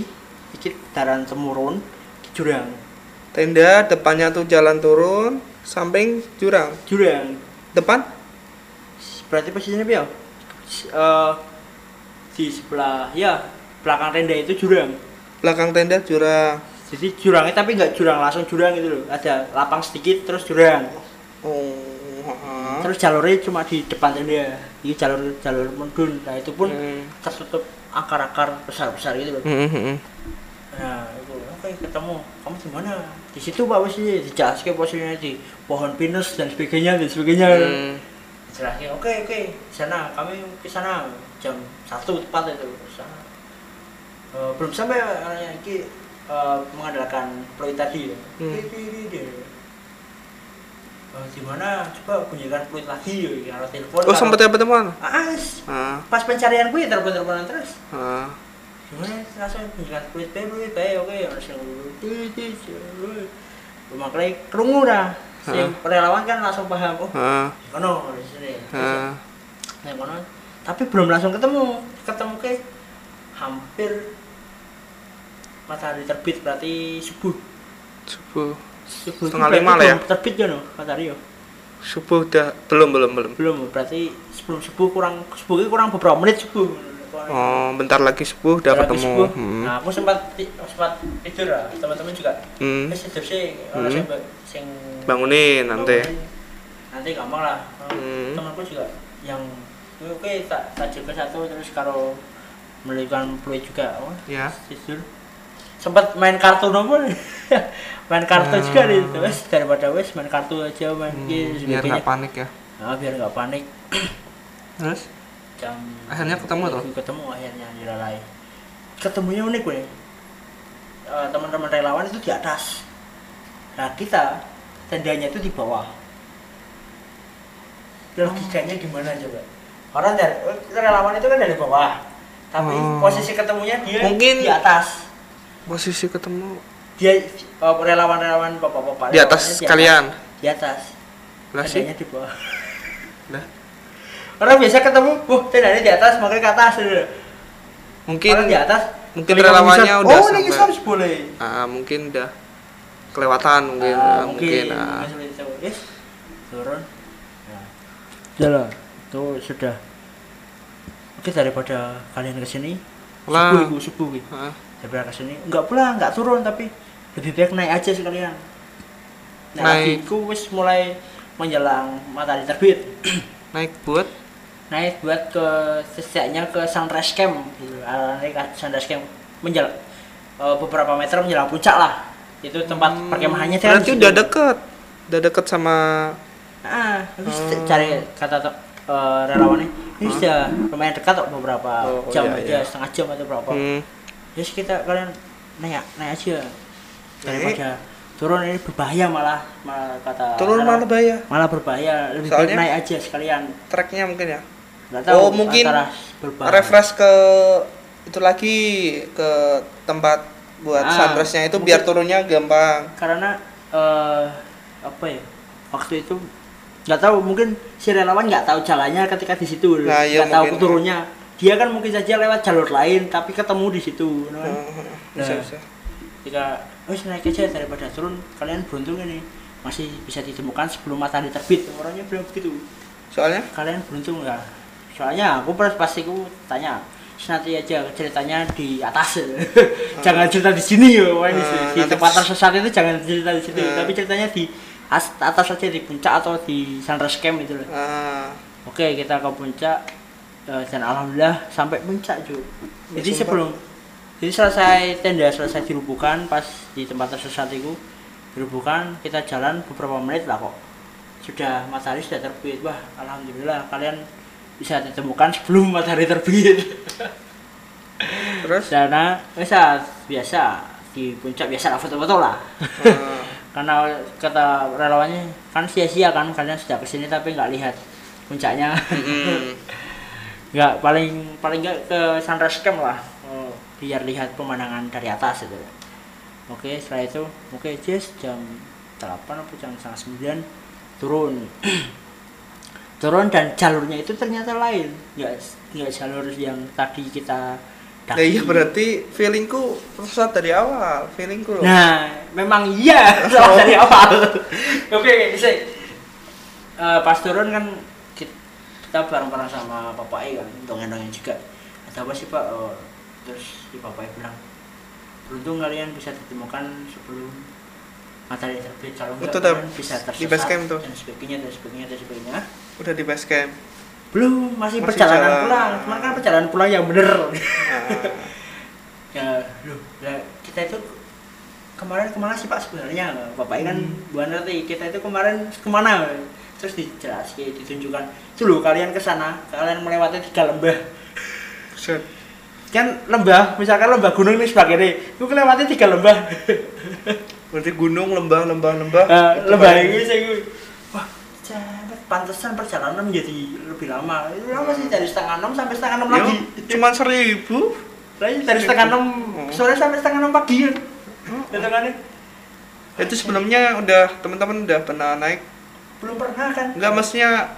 [SPEAKER 2] iki daran temurun ki jurang
[SPEAKER 1] tenda depannya tuh jalan turun samping jurang
[SPEAKER 2] jurang
[SPEAKER 1] depan
[SPEAKER 2] berarti posisinya piye S- eh di sebelah ya belakang tenda itu jurang
[SPEAKER 1] belakang tenda jurang
[SPEAKER 2] jadi jurangnya tapi nggak jurang langsung jurang gitu loh ada lapang sedikit terus jurang
[SPEAKER 1] oh ha.
[SPEAKER 2] terus jalurnya cuma di depan tenda ini jalur jalur mendun nah itu pun
[SPEAKER 1] Hmm.
[SPEAKER 2] tertutup akar-akar besar-besar gitu loh
[SPEAKER 1] Hmm, hmm, hmm.
[SPEAKER 2] nah itu oke ketemu kamu di mana di situ pak posisinya di jaske posisinya di pohon pinus dan sebagainya dan sebagainya
[SPEAKER 1] Hmm.
[SPEAKER 2] jelasnya oke oke di sana kami ke sana jam satu tepat itu ke sana Eh, belum sampai orangnya ini eh, mengandalkan peluit tadi ya
[SPEAKER 1] Hmm.
[SPEAKER 2] Di- di- di- di. Eh, di mana coba bunyikan peluit lagi ya ini, kalau telepon
[SPEAKER 1] oh
[SPEAKER 2] kalau-
[SPEAKER 1] sempat ya teman
[SPEAKER 2] Ah, s-
[SPEAKER 1] ah
[SPEAKER 2] pas pencarian gue telepon teleponan terus
[SPEAKER 1] ah
[SPEAKER 2] gimana langsung bunyikan peluit bae peluit bae oke langsung peluit, peluit, peluit. Lumaklai kerungu dah si
[SPEAKER 1] Heeh.
[SPEAKER 2] relawan kan langsung paham oh
[SPEAKER 1] ah
[SPEAKER 2] di kono di sini Terus,
[SPEAKER 1] ah
[SPEAKER 2] Nah, kono. Tapi belum langsung ketemu. Ketemu ke hampir matahari terbit berarti subuh.
[SPEAKER 1] subuh
[SPEAKER 2] Subuh itu
[SPEAKER 1] Setengah
[SPEAKER 2] berarti
[SPEAKER 1] lima lah ya?
[SPEAKER 2] belum Terbit kan no, matahari yo.
[SPEAKER 1] subuh udah belum belum belum
[SPEAKER 2] Belum berarti sebelum subuh kurang subuh itu kurang beberapa menit subuh.
[SPEAKER 1] oh bentar lagi subuh udah
[SPEAKER 2] Habis
[SPEAKER 1] ketemu
[SPEAKER 2] subuh.
[SPEAKER 1] Hmm.
[SPEAKER 2] Nah, aku sempat ti- sempat tidur lah, teman-teman juga.
[SPEAKER 1] hmm.
[SPEAKER 2] Wis tidur sih, orang
[SPEAKER 1] Hmm.
[SPEAKER 2] sing ba- sing
[SPEAKER 1] bangunin nanti
[SPEAKER 2] Nanti gampang lah.
[SPEAKER 1] Hmm.
[SPEAKER 2] Temanku juga yang oke tak tak jaga satu terus kalau melakukan play juga. Oh,
[SPEAKER 1] ya
[SPEAKER 2] tidur sempat main kartu nomor [laughs] main kartu juga di situ wes daripada wes main kartu aja main game
[SPEAKER 1] Ah. Hmm, biar
[SPEAKER 2] sebagainya
[SPEAKER 1] nggak panik ya
[SPEAKER 2] nah, biar nggak panik [clears throat]
[SPEAKER 1] terus
[SPEAKER 2] jam Iya,
[SPEAKER 1] Akhirnya ketemu tuh?
[SPEAKER 2] ketemu akhirnya di lalai ketemunya unik gue Eh, teman-teman relawan itu di atas nah kita tendanya itu di bawah logikanya gimana coba orang dari relawan itu kan dari bawah tapi
[SPEAKER 1] Oh.
[SPEAKER 2] posisi ketemunya dia
[SPEAKER 1] Mungkin-
[SPEAKER 2] di atas
[SPEAKER 1] posisi ketemu
[SPEAKER 2] dia eh, relawan-relawan bapak-bapak
[SPEAKER 1] di atas
[SPEAKER 2] relawannya
[SPEAKER 1] kalian
[SPEAKER 2] di atas
[SPEAKER 1] lah sih
[SPEAKER 2] tendanya di bawah
[SPEAKER 1] lah
[SPEAKER 2] orang biasa ketemu wah tendanya di atas makanya ke atas gitu.
[SPEAKER 1] mungkin
[SPEAKER 2] orang di atas
[SPEAKER 1] mungkin
[SPEAKER 2] Kalau
[SPEAKER 1] relawannya
[SPEAKER 2] bisa-
[SPEAKER 1] udah
[SPEAKER 2] oh ini
[SPEAKER 1] sampai.
[SPEAKER 2] kita harus boleh
[SPEAKER 1] ah, mungkin udah kelewatan mungkin ah, mungkin, ah.
[SPEAKER 2] seperti itu. Yes. turun nah. jalan itu sudah oke daripada kalian kesini
[SPEAKER 1] Lah.
[SPEAKER 2] subuh ibu subuh gitu
[SPEAKER 1] Ah,
[SPEAKER 2] daripada kesini nggak pula nggak turun tapi lebih baik naik aja sekalian nah
[SPEAKER 1] Naik.
[SPEAKER 2] naik. aku wis mulai menjelang matahari terbit
[SPEAKER 1] naik buat
[SPEAKER 2] naik buat ke setidaknya ke sunrise camp gitu arahnya ke sunrise camp menjelang beberapa meter menjelang puncak lah itu tempat perkemahannya
[SPEAKER 1] Hmm,
[SPEAKER 2] kan
[SPEAKER 1] berarti
[SPEAKER 2] di situ.
[SPEAKER 1] udah deket udah deket sama
[SPEAKER 2] ah terus
[SPEAKER 1] Hmm.
[SPEAKER 2] cari kata to- eh, relawannya ini sudah lumayan dekat kok beberapa
[SPEAKER 1] Oh, oh,
[SPEAKER 2] jam
[SPEAKER 1] iya,
[SPEAKER 2] aja
[SPEAKER 1] iya.
[SPEAKER 2] setengah jam atau berapa
[SPEAKER 1] hmm, Eh.
[SPEAKER 2] terus kita kalian naik naik aja daripada turun ini berbahaya malah malah kata
[SPEAKER 1] turun
[SPEAKER 2] relawan.
[SPEAKER 1] malah bahaya
[SPEAKER 2] malah berbahaya lebih
[SPEAKER 1] Soalnya-
[SPEAKER 2] baik naik aja sekalian
[SPEAKER 1] treknya mungkin ya
[SPEAKER 2] nggak tahu
[SPEAKER 1] Oh, mungkin
[SPEAKER 2] antara berbahaya.
[SPEAKER 1] refresh ke itu lagi ke tempat buat
[SPEAKER 2] Ah,
[SPEAKER 1] sunrise-nya itu
[SPEAKER 2] mungkin-
[SPEAKER 1] biar turunnya gampang
[SPEAKER 2] karena eh apa ya waktu itu nggak tahu mungkin si relawan nggak tahu jalannya ketika di situ
[SPEAKER 1] Nah, iya,
[SPEAKER 2] nggak tahu
[SPEAKER 1] mungkin.
[SPEAKER 2] turunnya dia kan mungkin saja lewat jalur lain tapi ketemu di situ kan?
[SPEAKER 1] Heeh, bisa
[SPEAKER 2] Nah.
[SPEAKER 1] bisa
[SPEAKER 2] ketika wis naik aja daripada turun kalian beruntung ini masih bisa ditemukan sebelum matahari terbit orangnya bilang begitu
[SPEAKER 1] soalnya
[SPEAKER 2] kalian beruntung nggak soalnya aku pas pasti aku tanya "Terus nanti aja ceritanya di atas [laughs] jangan cerita di sini ya Wah, ini
[SPEAKER 1] Ah,
[SPEAKER 2] di
[SPEAKER 1] nanti-
[SPEAKER 2] tempat tersesat itu jangan cerita di situ
[SPEAKER 1] Ah.
[SPEAKER 2] tapi ceritanya di as- atas saja di puncak atau di sunrise camp itu loh
[SPEAKER 1] ah,
[SPEAKER 2] oke kita ke puncak eh, dan alhamdulillah sampai puncak juga jadi
[SPEAKER 1] Sumpah.
[SPEAKER 2] sebelum jadi selesai tenda selesai dirubuhkan pas di tempat tersesat itu dirubuhkan kita jalan beberapa menit lah kok sudah matahari sudah terbit wah alhamdulillah kalian bisa ditemukan sebelum matahari terbit [laughs]
[SPEAKER 1] terus
[SPEAKER 2] karena biasa biasa di puncak biasa lah foto-foto lah
[SPEAKER 1] ah,
[SPEAKER 2] karena kata relawannya kan sia-sia kan kalian sudah kesini tapi nggak lihat puncaknya
[SPEAKER 1] mm,
[SPEAKER 2] nggak paling paling nggak ke sunrise camp lah eh, biar lihat pemandangan dari atas itu oke setelah itu oke Jess jam 8 atau jam setengah sembilan turun [clears throat] turun dan jalurnya itu ternyata lain nggak nggak jalur yang tadi kita
[SPEAKER 1] nah iya berarti feelingku tersesat dari awal feelingku loh
[SPEAKER 2] Nah, memang
[SPEAKER 1] [laughs] Oh.
[SPEAKER 2] iya salah dari awal. Oke, sih. Eh, pas turun kan ki- kita bareng-bareng sama Bapak I kan, dongeng-dongeng juga. Ada apa sih Pak? Oh, terus si Bapak I bilang, beruntung kalian bisa ditemukan sebelum matahari terbit. Kalau
[SPEAKER 1] Itu
[SPEAKER 2] enggak,
[SPEAKER 1] tuh,
[SPEAKER 2] kalian bisa
[SPEAKER 1] di
[SPEAKER 2] tersesat
[SPEAKER 1] base camp tuh.
[SPEAKER 2] dan sebagainya dan sebagainya dan sebagainya.
[SPEAKER 1] udah di base camp
[SPEAKER 2] Belum, masih,
[SPEAKER 1] Masih
[SPEAKER 2] perjalanan
[SPEAKER 1] jalan.
[SPEAKER 2] pulang. Cuman kan perjalanan pulang yang bener.
[SPEAKER 1] Ah,
[SPEAKER 2] ya loh lah, kita itu kemarin kemana sih pak sebenarnya bapak ini kan bukan ngerti kita itu kemarin kemana terus dijelasin ditunjukkan itu loh kalian ke sana kalian melewati tiga lembah
[SPEAKER 1] set.
[SPEAKER 2] kan lembah misalkan lembah gunung ini sebelah kiri itu kelewati tiga lembah [laughs]
[SPEAKER 1] berarti gunung lembah lembah lembah
[SPEAKER 2] Eh,
[SPEAKER 1] Itu
[SPEAKER 2] lembah
[SPEAKER 1] paling-
[SPEAKER 2] ini saya gue wah jamet pantesan perjalanan menjadi lebih lama itu lama sih dari setengah enam sampai setengah enam
[SPEAKER 1] Yo,
[SPEAKER 2] lagi
[SPEAKER 1] Iya, cuman seribu
[SPEAKER 2] lagi dari setengah enam sore sampai setengah enam pagi kan itu kan
[SPEAKER 1] itu sebelumnya udah teman-teman udah pernah naik
[SPEAKER 2] belum pernah kan
[SPEAKER 1] Enggak maksudnya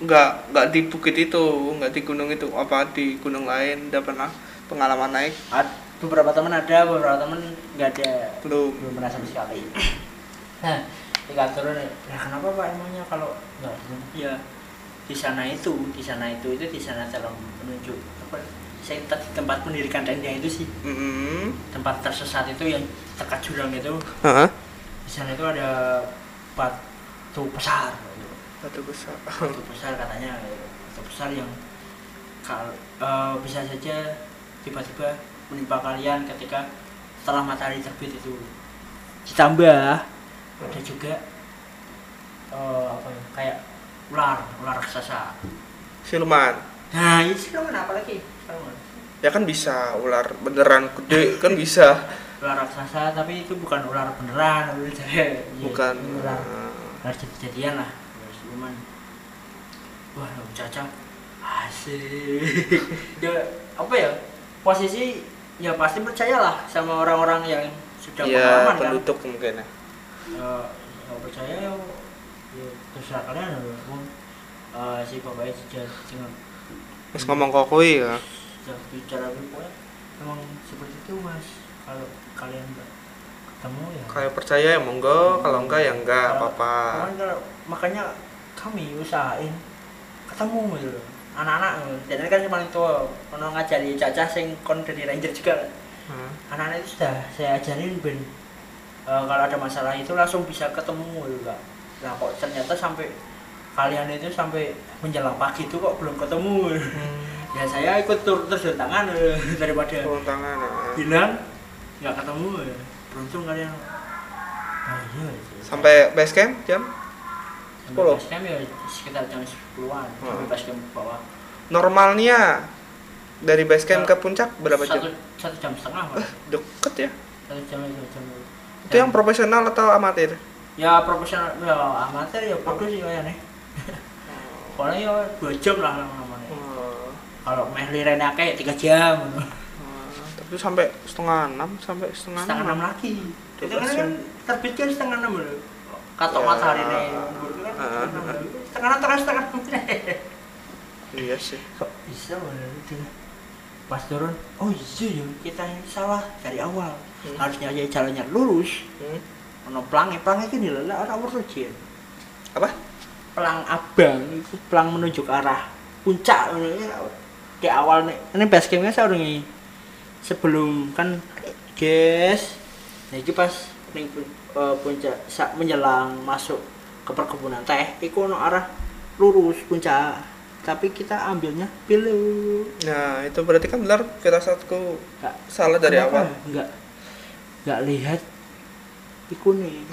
[SPEAKER 1] enggak enggak di bukit itu, enggak di gunung itu, apa di gunung lain udah pernah pengalaman naik
[SPEAKER 2] Ad- beberapa teman ada beberapa teman nggak ada
[SPEAKER 1] belum.
[SPEAKER 2] belum pernah sama sekali nah tinggal turun ya "Lah, kenapa pak emangnya kalau nggak turun?" ya di sana itu di sana itu itu di sana dalam menunjuk apa saya tadi tempat mendirikan tenda itu sih
[SPEAKER 1] Mm-mm.
[SPEAKER 2] tempat tersesat itu yang dekat jurang itu
[SPEAKER 1] Heeh.
[SPEAKER 2] di sana itu ada batu besar gitu.
[SPEAKER 1] Batu besar.
[SPEAKER 2] batu besar katanya batu besar yang kal- eh, bisa saja tiba-tiba menimpa kalian ketika setelah matahari terbit itu ditambah ada juga eh, apa ya kayak ular ular raksasa
[SPEAKER 1] siluman
[SPEAKER 2] nah ini siluman apa lagi siluman
[SPEAKER 1] ya kan bisa ular beneran gede kan bisa
[SPEAKER 2] ular raksasa tapi itu bukan ular beneran ular jadi
[SPEAKER 1] bukan
[SPEAKER 2] ular
[SPEAKER 1] eh,
[SPEAKER 2] ular jadi-jadian lah ular siluman wah Om Caca asik ya apa ya posisi ya pasti percayalah sama orang-orang yang sudah
[SPEAKER 1] ya
[SPEAKER 2] pengalaman kan
[SPEAKER 1] penduduk mungkin ya
[SPEAKER 2] Eh, nggak percaya ya, ya terserah kalian lah, Om. Eh, si bapak itu jangan
[SPEAKER 1] terus ngomong kokui ya
[SPEAKER 2] yang bicara gue emang ya, seperti itu mas kalau kalian nggak ketemu ya
[SPEAKER 1] kalau percaya ya monggo kalau enggak ya enggak apa-apa
[SPEAKER 2] Cuman kalau- makanya kami usahain ketemu gitu loh anak-anak loh. dan ini kan yang paling tua kalau ngajari caca sing kon dari ranger juga Iya.
[SPEAKER 1] Hmm.
[SPEAKER 2] anak-anak itu sudah saya ajarin ben eh, kalau ada masalah itu langsung bisa ketemu gitu Kak. nah kok ternyata sampai kalian itu sampai menjelang pagi itu kok belum ketemu [laughs] ya saya ikut tur terjun tangan eh, [laughs] daripada
[SPEAKER 1] turun tangan ah.
[SPEAKER 2] bilang nggak ketemu ya beruntung kalian ah iya itu.
[SPEAKER 1] sampai base camp jam
[SPEAKER 2] Sampai
[SPEAKER 1] 10.
[SPEAKER 2] base camp ya sekitar jam 10-an sampai
[SPEAKER 1] Hmm.
[SPEAKER 2] base camp bawah
[SPEAKER 1] normalnya dari base camp ke puncak berapa
[SPEAKER 2] satu,
[SPEAKER 1] jam
[SPEAKER 2] satu jam setengah Pak.
[SPEAKER 1] deket ya
[SPEAKER 2] satu jam satu jam
[SPEAKER 1] itu yang profesional atau amatir
[SPEAKER 2] ya profesional ya amatir ya bodoh sih kayaknya paling ya dua jam lah lama-lama
[SPEAKER 1] Hmm.
[SPEAKER 2] kalau meh lirene akeh tiga jam gitu.
[SPEAKER 1] Hmm. tapi itu sampai setengah enam sampai setengah
[SPEAKER 2] [laughs] setengah enam
[SPEAKER 1] enam
[SPEAKER 2] lagi itu
[SPEAKER 1] Coba
[SPEAKER 2] kan
[SPEAKER 1] sih.
[SPEAKER 2] kan terbit kan setengah enam loh katok
[SPEAKER 1] Ya.
[SPEAKER 2] matahari nih menurutku kan
[SPEAKER 1] Ah.
[SPEAKER 2] setengah enam. setengah enam [laughs] terus setengah enam
[SPEAKER 1] iya sih
[SPEAKER 2] kok bisa bener itu pas turun oh iya ya kita yang salah dari awal
[SPEAKER 1] Hmm.
[SPEAKER 2] harusnya aja jalannya lurus
[SPEAKER 1] Hmm.
[SPEAKER 2] ono pelangi pelangi itu dilelak orang urut
[SPEAKER 1] apa
[SPEAKER 2] pelang abang itu pelang menuju ke arah puncak ngono. Ya, di awal nih ini base campnya saya udah ngi- sebelum kan guys nah itu pas ning pun- eh, puncak sak menjelang masuk ke perkebunan teh itu ono arah lurus puncak tapi kita ambilnya pilu
[SPEAKER 1] nah itu berarti kan benar firasatku
[SPEAKER 2] Nggak-
[SPEAKER 1] salah dari awal
[SPEAKER 2] kenapa nggak nggak lihat iku nih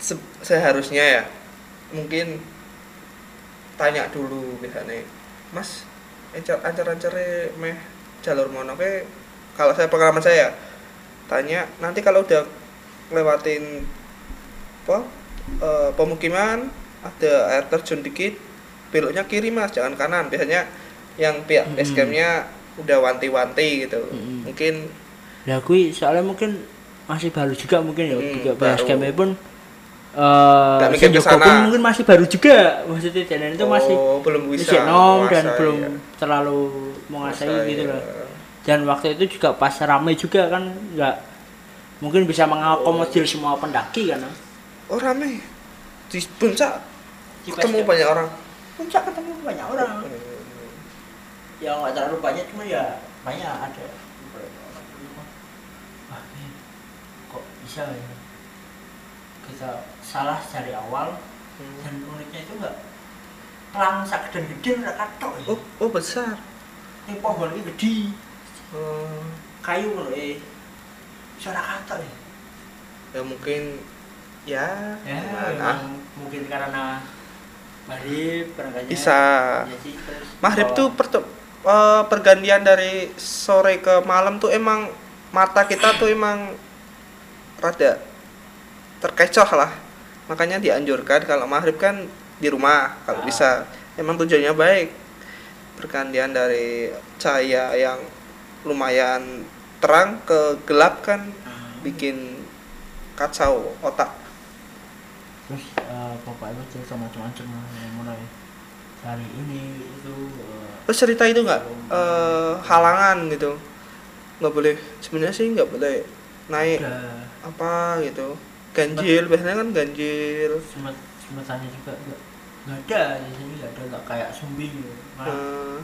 [SPEAKER 1] Se- seharusnya ya mungkin tanya dulu biasanya mas encer ancer ancernya meh jalur mono ke kalau saya pengalaman saya ya, tanya nanti kalau udah lewatin apa eh, pemukiman ada air terjun dikit beloknya kiri mas jangan kanan biasanya yang pihak
[SPEAKER 2] Mm-mm.
[SPEAKER 1] base campnya udah wanti-wanti gitu
[SPEAKER 2] Mm-mm.
[SPEAKER 1] mungkin
[SPEAKER 2] lah kui soalnya mungkin masih baru juga mungkin ya
[SPEAKER 1] Hmm,
[SPEAKER 2] juga bahas
[SPEAKER 1] baru.
[SPEAKER 2] game pun eh
[SPEAKER 1] Nggak mikir
[SPEAKER 2] Shin
[SPEAKER 1] ke sana.
[SPEAKER 2] Yoko pun mungkin masih baru juga maksudnya dan itu masih
[SPEAKER 1] oh, belum bisa
[SPEAKER 2] masih nom dan
[SPEAKER 1] menguasai,
[SPEAKER 2] belum
[SPEAKER 1] ya.
[SPEAKER 2] terlalu menguasai
[SPEAKER 1] Menguasai,
[SPEAKER 2] gitu loh
[SPEAKER 1] ya.
[SPEAKER 2] dan waktu itu juga pas ramai juga kan nggak mungkin bisa mengakomodir semua pendaki kan
[SPEAKER 1] Oh rame di puncak ketemu banyak orang.
[SPEAKER 2] puncak ketemu banyak orang
[SPEAKER 1] Hmm.
[SPEAKER 2] ya nggak terlalu banyak cuma ya banyak ada Wah, ini kok bisa ya kita salah dari awal
[SPEAKER 1] iya.
[SPEAKER 2] dan uniknya itu nggak pelang sak dan gede nggak katok ya
[SPEAKER 1] Oh, oh besar.
[SPEAKER 2] ini pohon ini gede
[SPEAKER 1] Oh,
[SPEAKER 2] kayu menurut eh bisa nggak katok ya
[SPEAKER 1] ya mungkin ya.
[SPEAKER 2] ya
[SPEAKER 1] nah,
[SPEAKER 2] emang mungkin karena Mahrib perangkatnya
[SPEAKER 1] bisa.
[SPEAKER 2] jadi terus
[SPEAKER 1] Maghrib
[SPEAKER 2] bawa-
[SPEAKER 1] tuh pertu- eh, pergantian dari sore ke malam tuh emang mata kita tuh emang rada terkecoh lah. Makanya dianjurkan kalau maghrib kan di rumah kalau
[SPEAKER 2] Ah.
[SPEAKER 1] bisa. Emang tujuannya baik. Pergantian dari cahaya yang lumayan terang ke gelap kan
[SPEAKER 2] Ah.
[SPEAKER 1] bikin kacau otak.
[SPEAKER 2] terus eh, bapak itu cerita macam-macam lah, yang mulai hari ini itu eh,
[SPEAKER 1] Terus cerita itu nggak eh, halangan gitu. nggak boleh sebenarnya sih nggak boleh naik
[SPEAKER 2] ada
[SPEAKER 1] apa gitu ganjil biasanya kan ganjil
[SPEAKER 2] semet semetannya juga nggak nggak ada di sini nggak ada nggak kayak sumbi gitu. malah
[SPEAKER 1] Eh,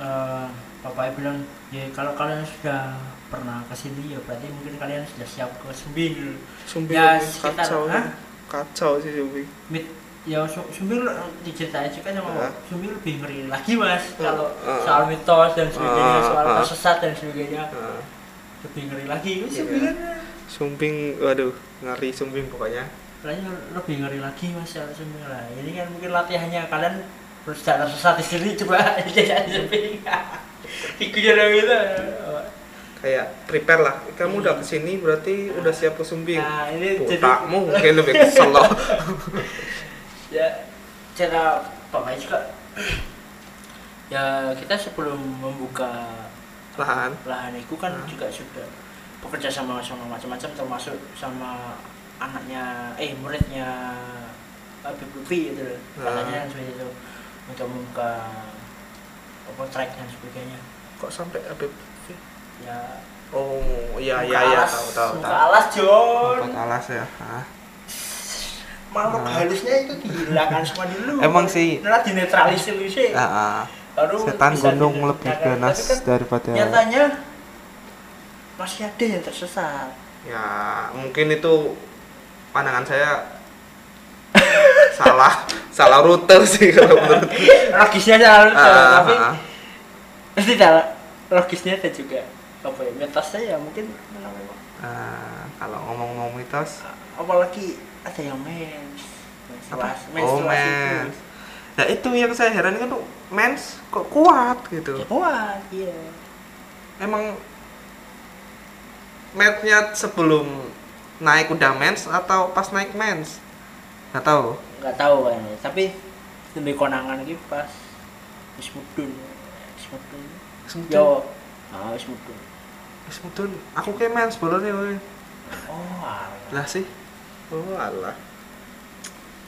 [SPEAKER 2] eh, bapaknya bilang ya kalau kalian sudah pernah ke sini ya berarti mungkin kalian sudah siap ke sumbi gitu.
[SPEAKER 1] sumbing
[SPEAKER 2] Ya,
[SPEAKER 1] lebih
[SPEAKER 2] sekitar-
[SPEAKER 1] kacau
[SPEAKER 2] Hah?
[SPEAKER 1] kacau sih sumbing
[SPEAKER 2] Mit, ya Su- sumbi lo- diceritain juga sama
[SPEAKER 1] Ah.
[SPEAKER 2] bapak sumbi lebih ngeri lagi mas
[SPEAKER 1] Ah.
[SPEAKER 2] kalau
[SPEAKER 1] Ah.
[SPEAKER 2] soal mitos dan sebagainya
[SPEAKER 1] Ah,
[SPEAKER 2] soal
[SPEAKER 1] ah.
[SPEAKER 2] tersesat dan sebagainya
[SPEAKER 1] Nah,
[SPEAKER 2] lebih ngeri lagi kan, itu
[SPEAKER 1] Iya.
[SPEAKER 2] sebenarnya
[SPEAKER 1] sumping waduh ngari sumping pokoknya
[SPEAKER 2] Kayaknya lebih ngeri lagi mas ya sumping lah ini kan mungkin latihannya kalian bersejarah sesat di sini coba [laughs] jajan [laughs] sumping ikutin dong gitu
[SPEAKER 1] kayak prepare lah kamu udah kesini berarti udah siap ke sumping
[SPEAKER 2] nah ini jadi
[SPEAKER 1] botakmu mungkin lebih kesel loh
[SPEAKER 2] ya cara pemain juga ya kita sebelum membuka
[SPEAKER 1] lahan
[SPEAKER 2] lahan itu kan
[SPEAKER 1] Hmm.
[SPEAKER 2] juga sudah bekerja sama sama macam-macam termasuk sama anaknya eh muridnya Habib Lutfi itu gitu loh
[SPEAKER 1] Hmm.
[SPEAKER 2] katanya yang seperti itu untuk membuka apa track dan sebagainya
[SPEAKER 1] kok sampai Habib
[SPEAKER 2] ya
[SPEAKER 1] oh iya
[SPEAKER 2] muka
[SPEAKER 1] iya iya
[SPEAKER 2] alas,
[SPEAKER 1] tahu tahu
[SPEAKER 2] muka
[SPEAKER 1] tahu
[SPEAKER 2] alas John
[SPEAKER 1] Empat alas ya Hah?
[SPEAKER 2] makhluk
[SPEAKER 1] Hmm.
[SPEAKER 2] halusnya itu dihilangkan semua dulu
[SPEAKER 1] Emang sih.
[SPEAKER 2] nah dinetralisir dulu sih
[SPEAKER 1] Ah, ah.
[SPEAKER 2] Eh, baru
[SPEAKER 1] setan
[SPEAKER 2] bisa
[SPEAKER 1] gunung
[SPEAKER 2] dinetralkan.
[SPEAKER 1] lebih
[SPEAKER 2] Tapi
[SPEAKER 1] ganas
[SPEAKER 2] kan
[SPEAKER 1] daripada
[SPEAKER 2] nyatanya masih ada yang tersesat
[SPEAKER 1] ya mungkin itu pandangan saya
[SPEAKER 2] [laughs]
[SPEAKER 1] salah salah rute sih kalau menurut
[SPEAKER 2] [laughs] logisnya salah
[SPEAKER 1] Ah, ah,
[SPEAKER 2] [laughs] tapi
[SPEAKER 1] ah.
[SPEAKER 2] pasti salah logisnya ada juga apa ya mitosnya ya mungkin mana ya?
[SPEAKER 1] Ah, kalau ngomong-ngomong mitos
[SPEAKER 2] apalagi ada yang mens menstruasi
[SPEAKER 1] oh
[SPEAKER 2] menstruasi
[SPEAKER 1] mens
[SPEAKER 2] itu
[SPEAKER 1] nah itu yang saya heran kan tuh mens kok kuat
[SPEAKER 2] ya
[SPEAKER 1] gitu
[SPEAKER 2] kuat iya
[SPEAKER 1] emang matchnya sebelum naik udah mens atau pas naik mens nggak tahu
[SPEAKER 2] nggak tahu kan ya. tapi lebih konangan gitu pas wis mudun wis mudun yo ah wis mudun
[SPEAKER 1] Semudun, aku kayak mens bolone kowe.
[SPEAKER 2] oh alah.
[SPEAKER 1] Lah sih. Oh alah.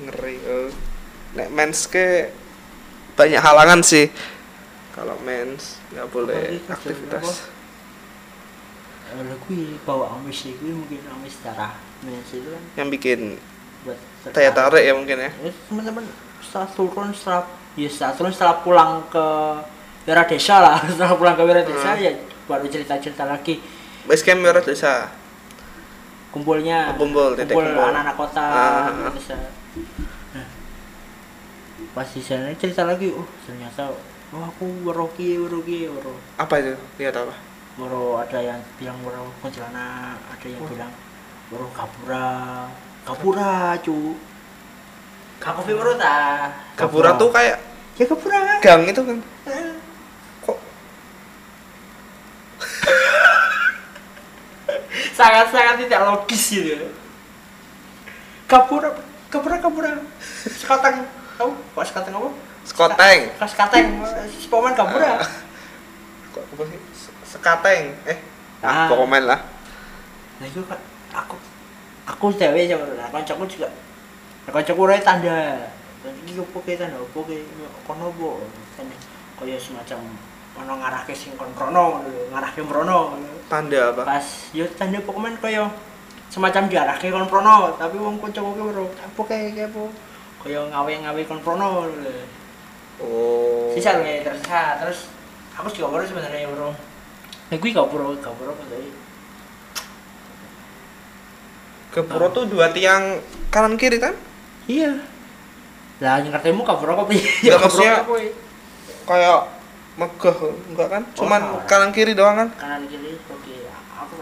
[SPEAKER 1] Ngeri. eh. Nek mens ke banyak halangan sih. Kalau mens nggak boleh
[SPEAKER 2] Apalagi kerja
[SPEAKER 1] aktivitas.
[SPEAKER 2] Kalau kui bawa amis sih, kui mungkin amis darah mens itu kan
[SPEAKER 1] Yang bikin
[SPEAKER 2] buat
[SPEAKER 1] daya tarik ya mungkin ya.
[SPEAKER 2] Terus teman-teman setelah turun setelah ya setelah turun setelah pulang ke daerah desa lah [laughs] setelah pulang ke daerah desa
[SPEAKER 1] Hmm.
[SPEAKER 2] ya baru cerita-cerita lagi
[SPEAKER 1] Base camp merah desa.
[SPEAKER 2] kumpulnya
[SPEAKER 1] Kumpul, titik kumpul.
[SPEAKER 2] anak-anak kota
[SPEAKER 1] Ah,
[SPEAKER 2] gitu,
[SPEAKER 1] ah.
[SPEAKER 2] desa. Nah, pas di sana cerita lagi oh ternyata oh aku weroki weroki wero
[SPEAKER 1] Apa itu? Lihat apa?
[SPEAKER 2] wero ada yang bilang wero kuntilanak ada yang
[SPEAKER 1] Oh.
[SPEAKER 2] bilang wero kapura kapura cu kakopi wero ta
[SPEAKER 1] Gapura tuh kan- kayak
[SPEAKER 2] ya kapura
[SPEAKER 1] gang itu kan. Kok
[SPEAKER 2] sangat-sangat tidak logis gitu kapura kapura kapura sekateng kamu kok sekateng apa
[SPEAKER 1] Sekoteng.
[SPEAKER 2] Seka- sekateng sepaman kapura
[SPEAKER 1] kok apa sih? Se- Sekateng. Eh, ah,
[SPEAKER 2] Ah.
[SPEAKER 1] pokoknya lah.
[SPEAKER 2] nah itu kan aku aku dewe sama nah, kancaku juga nah, kancaku ora tanda iki opo ke tanda opo ke kono opo tanda kaya semacam ono ngarahke sing kon krono ngono lho, ngarahke mrono ngono.
[SPEAKER 1] Tanda apa?
[SPEAKER 2] pas ya yo tanda Pokemon kaya semacam diarahke kon prono tapi wong kanca kowe ora apa kae kae apa kaya ngawe-ngawe kon prono lho.
[SPEAKER 1] Oh.
[SPEAKER 2] sisa lho ya, terus ha, terus aku sih gak sebenarnya bro ya gue gak bro gak bro apa sih
[SPEAKER 1] Gapura tuh dua tiang kanan kiri kan?
[SPEAKER 2] iya lah yang ketemu gak bro kopi
[SPEAKER 1] Ya, maksudnya- Kayak megah enggak kan? Cuman
[SPEAKER 2] Oh.
[SPEAKER 1] kanan kiri doang kan?
[SPEAKER 2] kanan kiri oke aku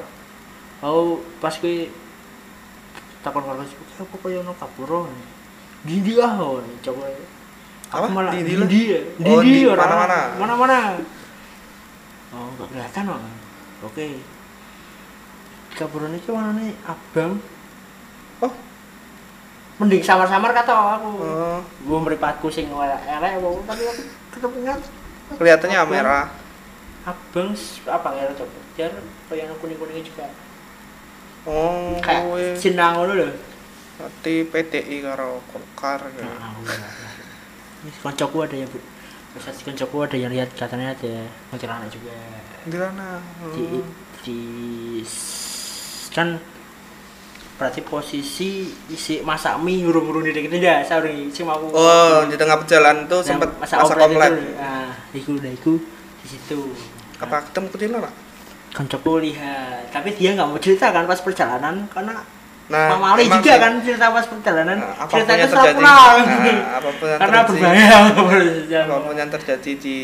[SPEAKER 2] oh pas gue takon karo sih oke apa kaya ono kapuro dindi ah oh, coba
[SPEAKER 1] Apa?
[SPEAKER 2] Aku malah
[SPEAKER 1] Dindi
[SPEAKER 2] dindi
[SPEAKER 1] lah.
[SPEAKER 2] ya.
[SPEAKER 1] Oh,
[SPEAKER 2] dindi
[SPEAKER 1] di
[SPEAKER 2] orang.
[SPEAKER 1] mana-mana.
[SPEAKER 2] mana-mana oh nggak kelihatan oh oke kapuro ini warnanya abang
[SPEAKER 1] Oh.
[SPEAKER 2] mending samar-samar kata aku
[SPEAKER 1] Oh,
[SPEAKER 2] gue meripatku sing elek apa, tapi aku ketemu kan
[SPEAKER 1] kelihatannya
[SPEAKER 2] Abang.
[SPEAKER 1] merah.
[SPEAKER 2] abang s- apa ngira coba biar kayak kuning kuningnya juga
[SPEAKER 1] Oh,
[SPEAKER 2] kayak
[SPEAKER 1] kowe
[SPEAKER 2] jenang ngono lho
[SPEAKER 1] berarti PTI karo Golkar ya.
[SPEAKER 2] Nah. Ini koncoku ada yang bu Bisa di koncoku ada yang lihat katanya ada kuntilanak juga
[SPEAKER 1] Di sana.
[SPEAKER 2] di di kan berarti posisi isi masak mie urung-urung di dekat ya sorry sing mau
[SPEAKER 1] Oh, di tengah perjalanan tuh
[SPEAKER 2] Yang
[SPEAKER 1] sempat masak omelet.
[SPEAKER 2] Nah, itu, nah iku nah iku di situ
[SPEAKER 1] Apa ketemu kuntilanak?
[SPEAKER 2] koncoku lihat tapi dia nggak mau cerita kan pas perjalanan karena
[SPEAKER 1] Nah,
[SPEAKER 2] Mama Ali
[SPEAKER 1] emang
[SPEAKER 2] juga
[SPEAKER 1] sih,
[SPEAKER 2] kan cerita pas perjalanan
[SPEAKER 1] nah, apapun
[SPEAKER 2] ceritanya
[SPEAKER 1] yang
[SPEAKER 2] setelah
[SPEAKER 1] terjadi.
[SPEAKER 2] pulang
[SPEAKER 1] Nah, apapun yang
[SPEAKER 2] karena
[SPEAKER 1] terjadi.
[SPEAKER 2] berbahaya
[SPEAKER 1] Apapun yang terjadi di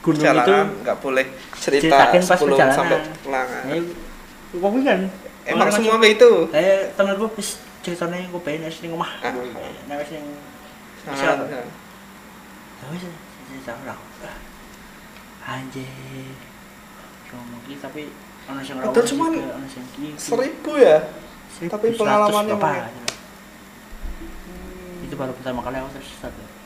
[SPEAKER 2] gunung itu
[SPEAKER 1] perjalanan nggak boleh cerita
[SPEAKER 2] ceritakan pas
[SPEAKER 1] 10
[SPEAKER 2] perjalanan.
[SPEAKER 1] sampai kelangan
[SPEAKER 2] Ayo, Eh, kok kan
[SPEAKER 1] emang
[SPEAKER 2] Orang
[SPEAKER 1] semua kayak itu
[SPEAKER 2] saya Eh, temen gue pas ceritanya gue pengen nasi ning omah
[SPEAKER 1] Ah.
[SPEAKER 2] Nah, wis ning
[SPEAKER 1] Sangat,
[SPEAKER 2] Siapa?
[SPEAKER 1] sangat.
[SPEAKER 2] nah, wis cerita orang anjir cuma iki tapi ono sing
[SPEAKER 1] Betul,
[SPEAKER 2] rawon
[SPEAKER 1] cuman
[SPEAKER 2] juga, ono sing iki.
[SPEAKER 1] seribu ya
[SPEAKER 2] Seribu
[SPEAKER 1] tapi
[SPEAKER 2] seratus ya?
[SPEAKER 1] pengalamannya
[SPEAKER 2] berapa,
[SPEAKER 1] banyak.
[SPEAKER 2] gitu. itu baru pertama kali aku tersesat ya.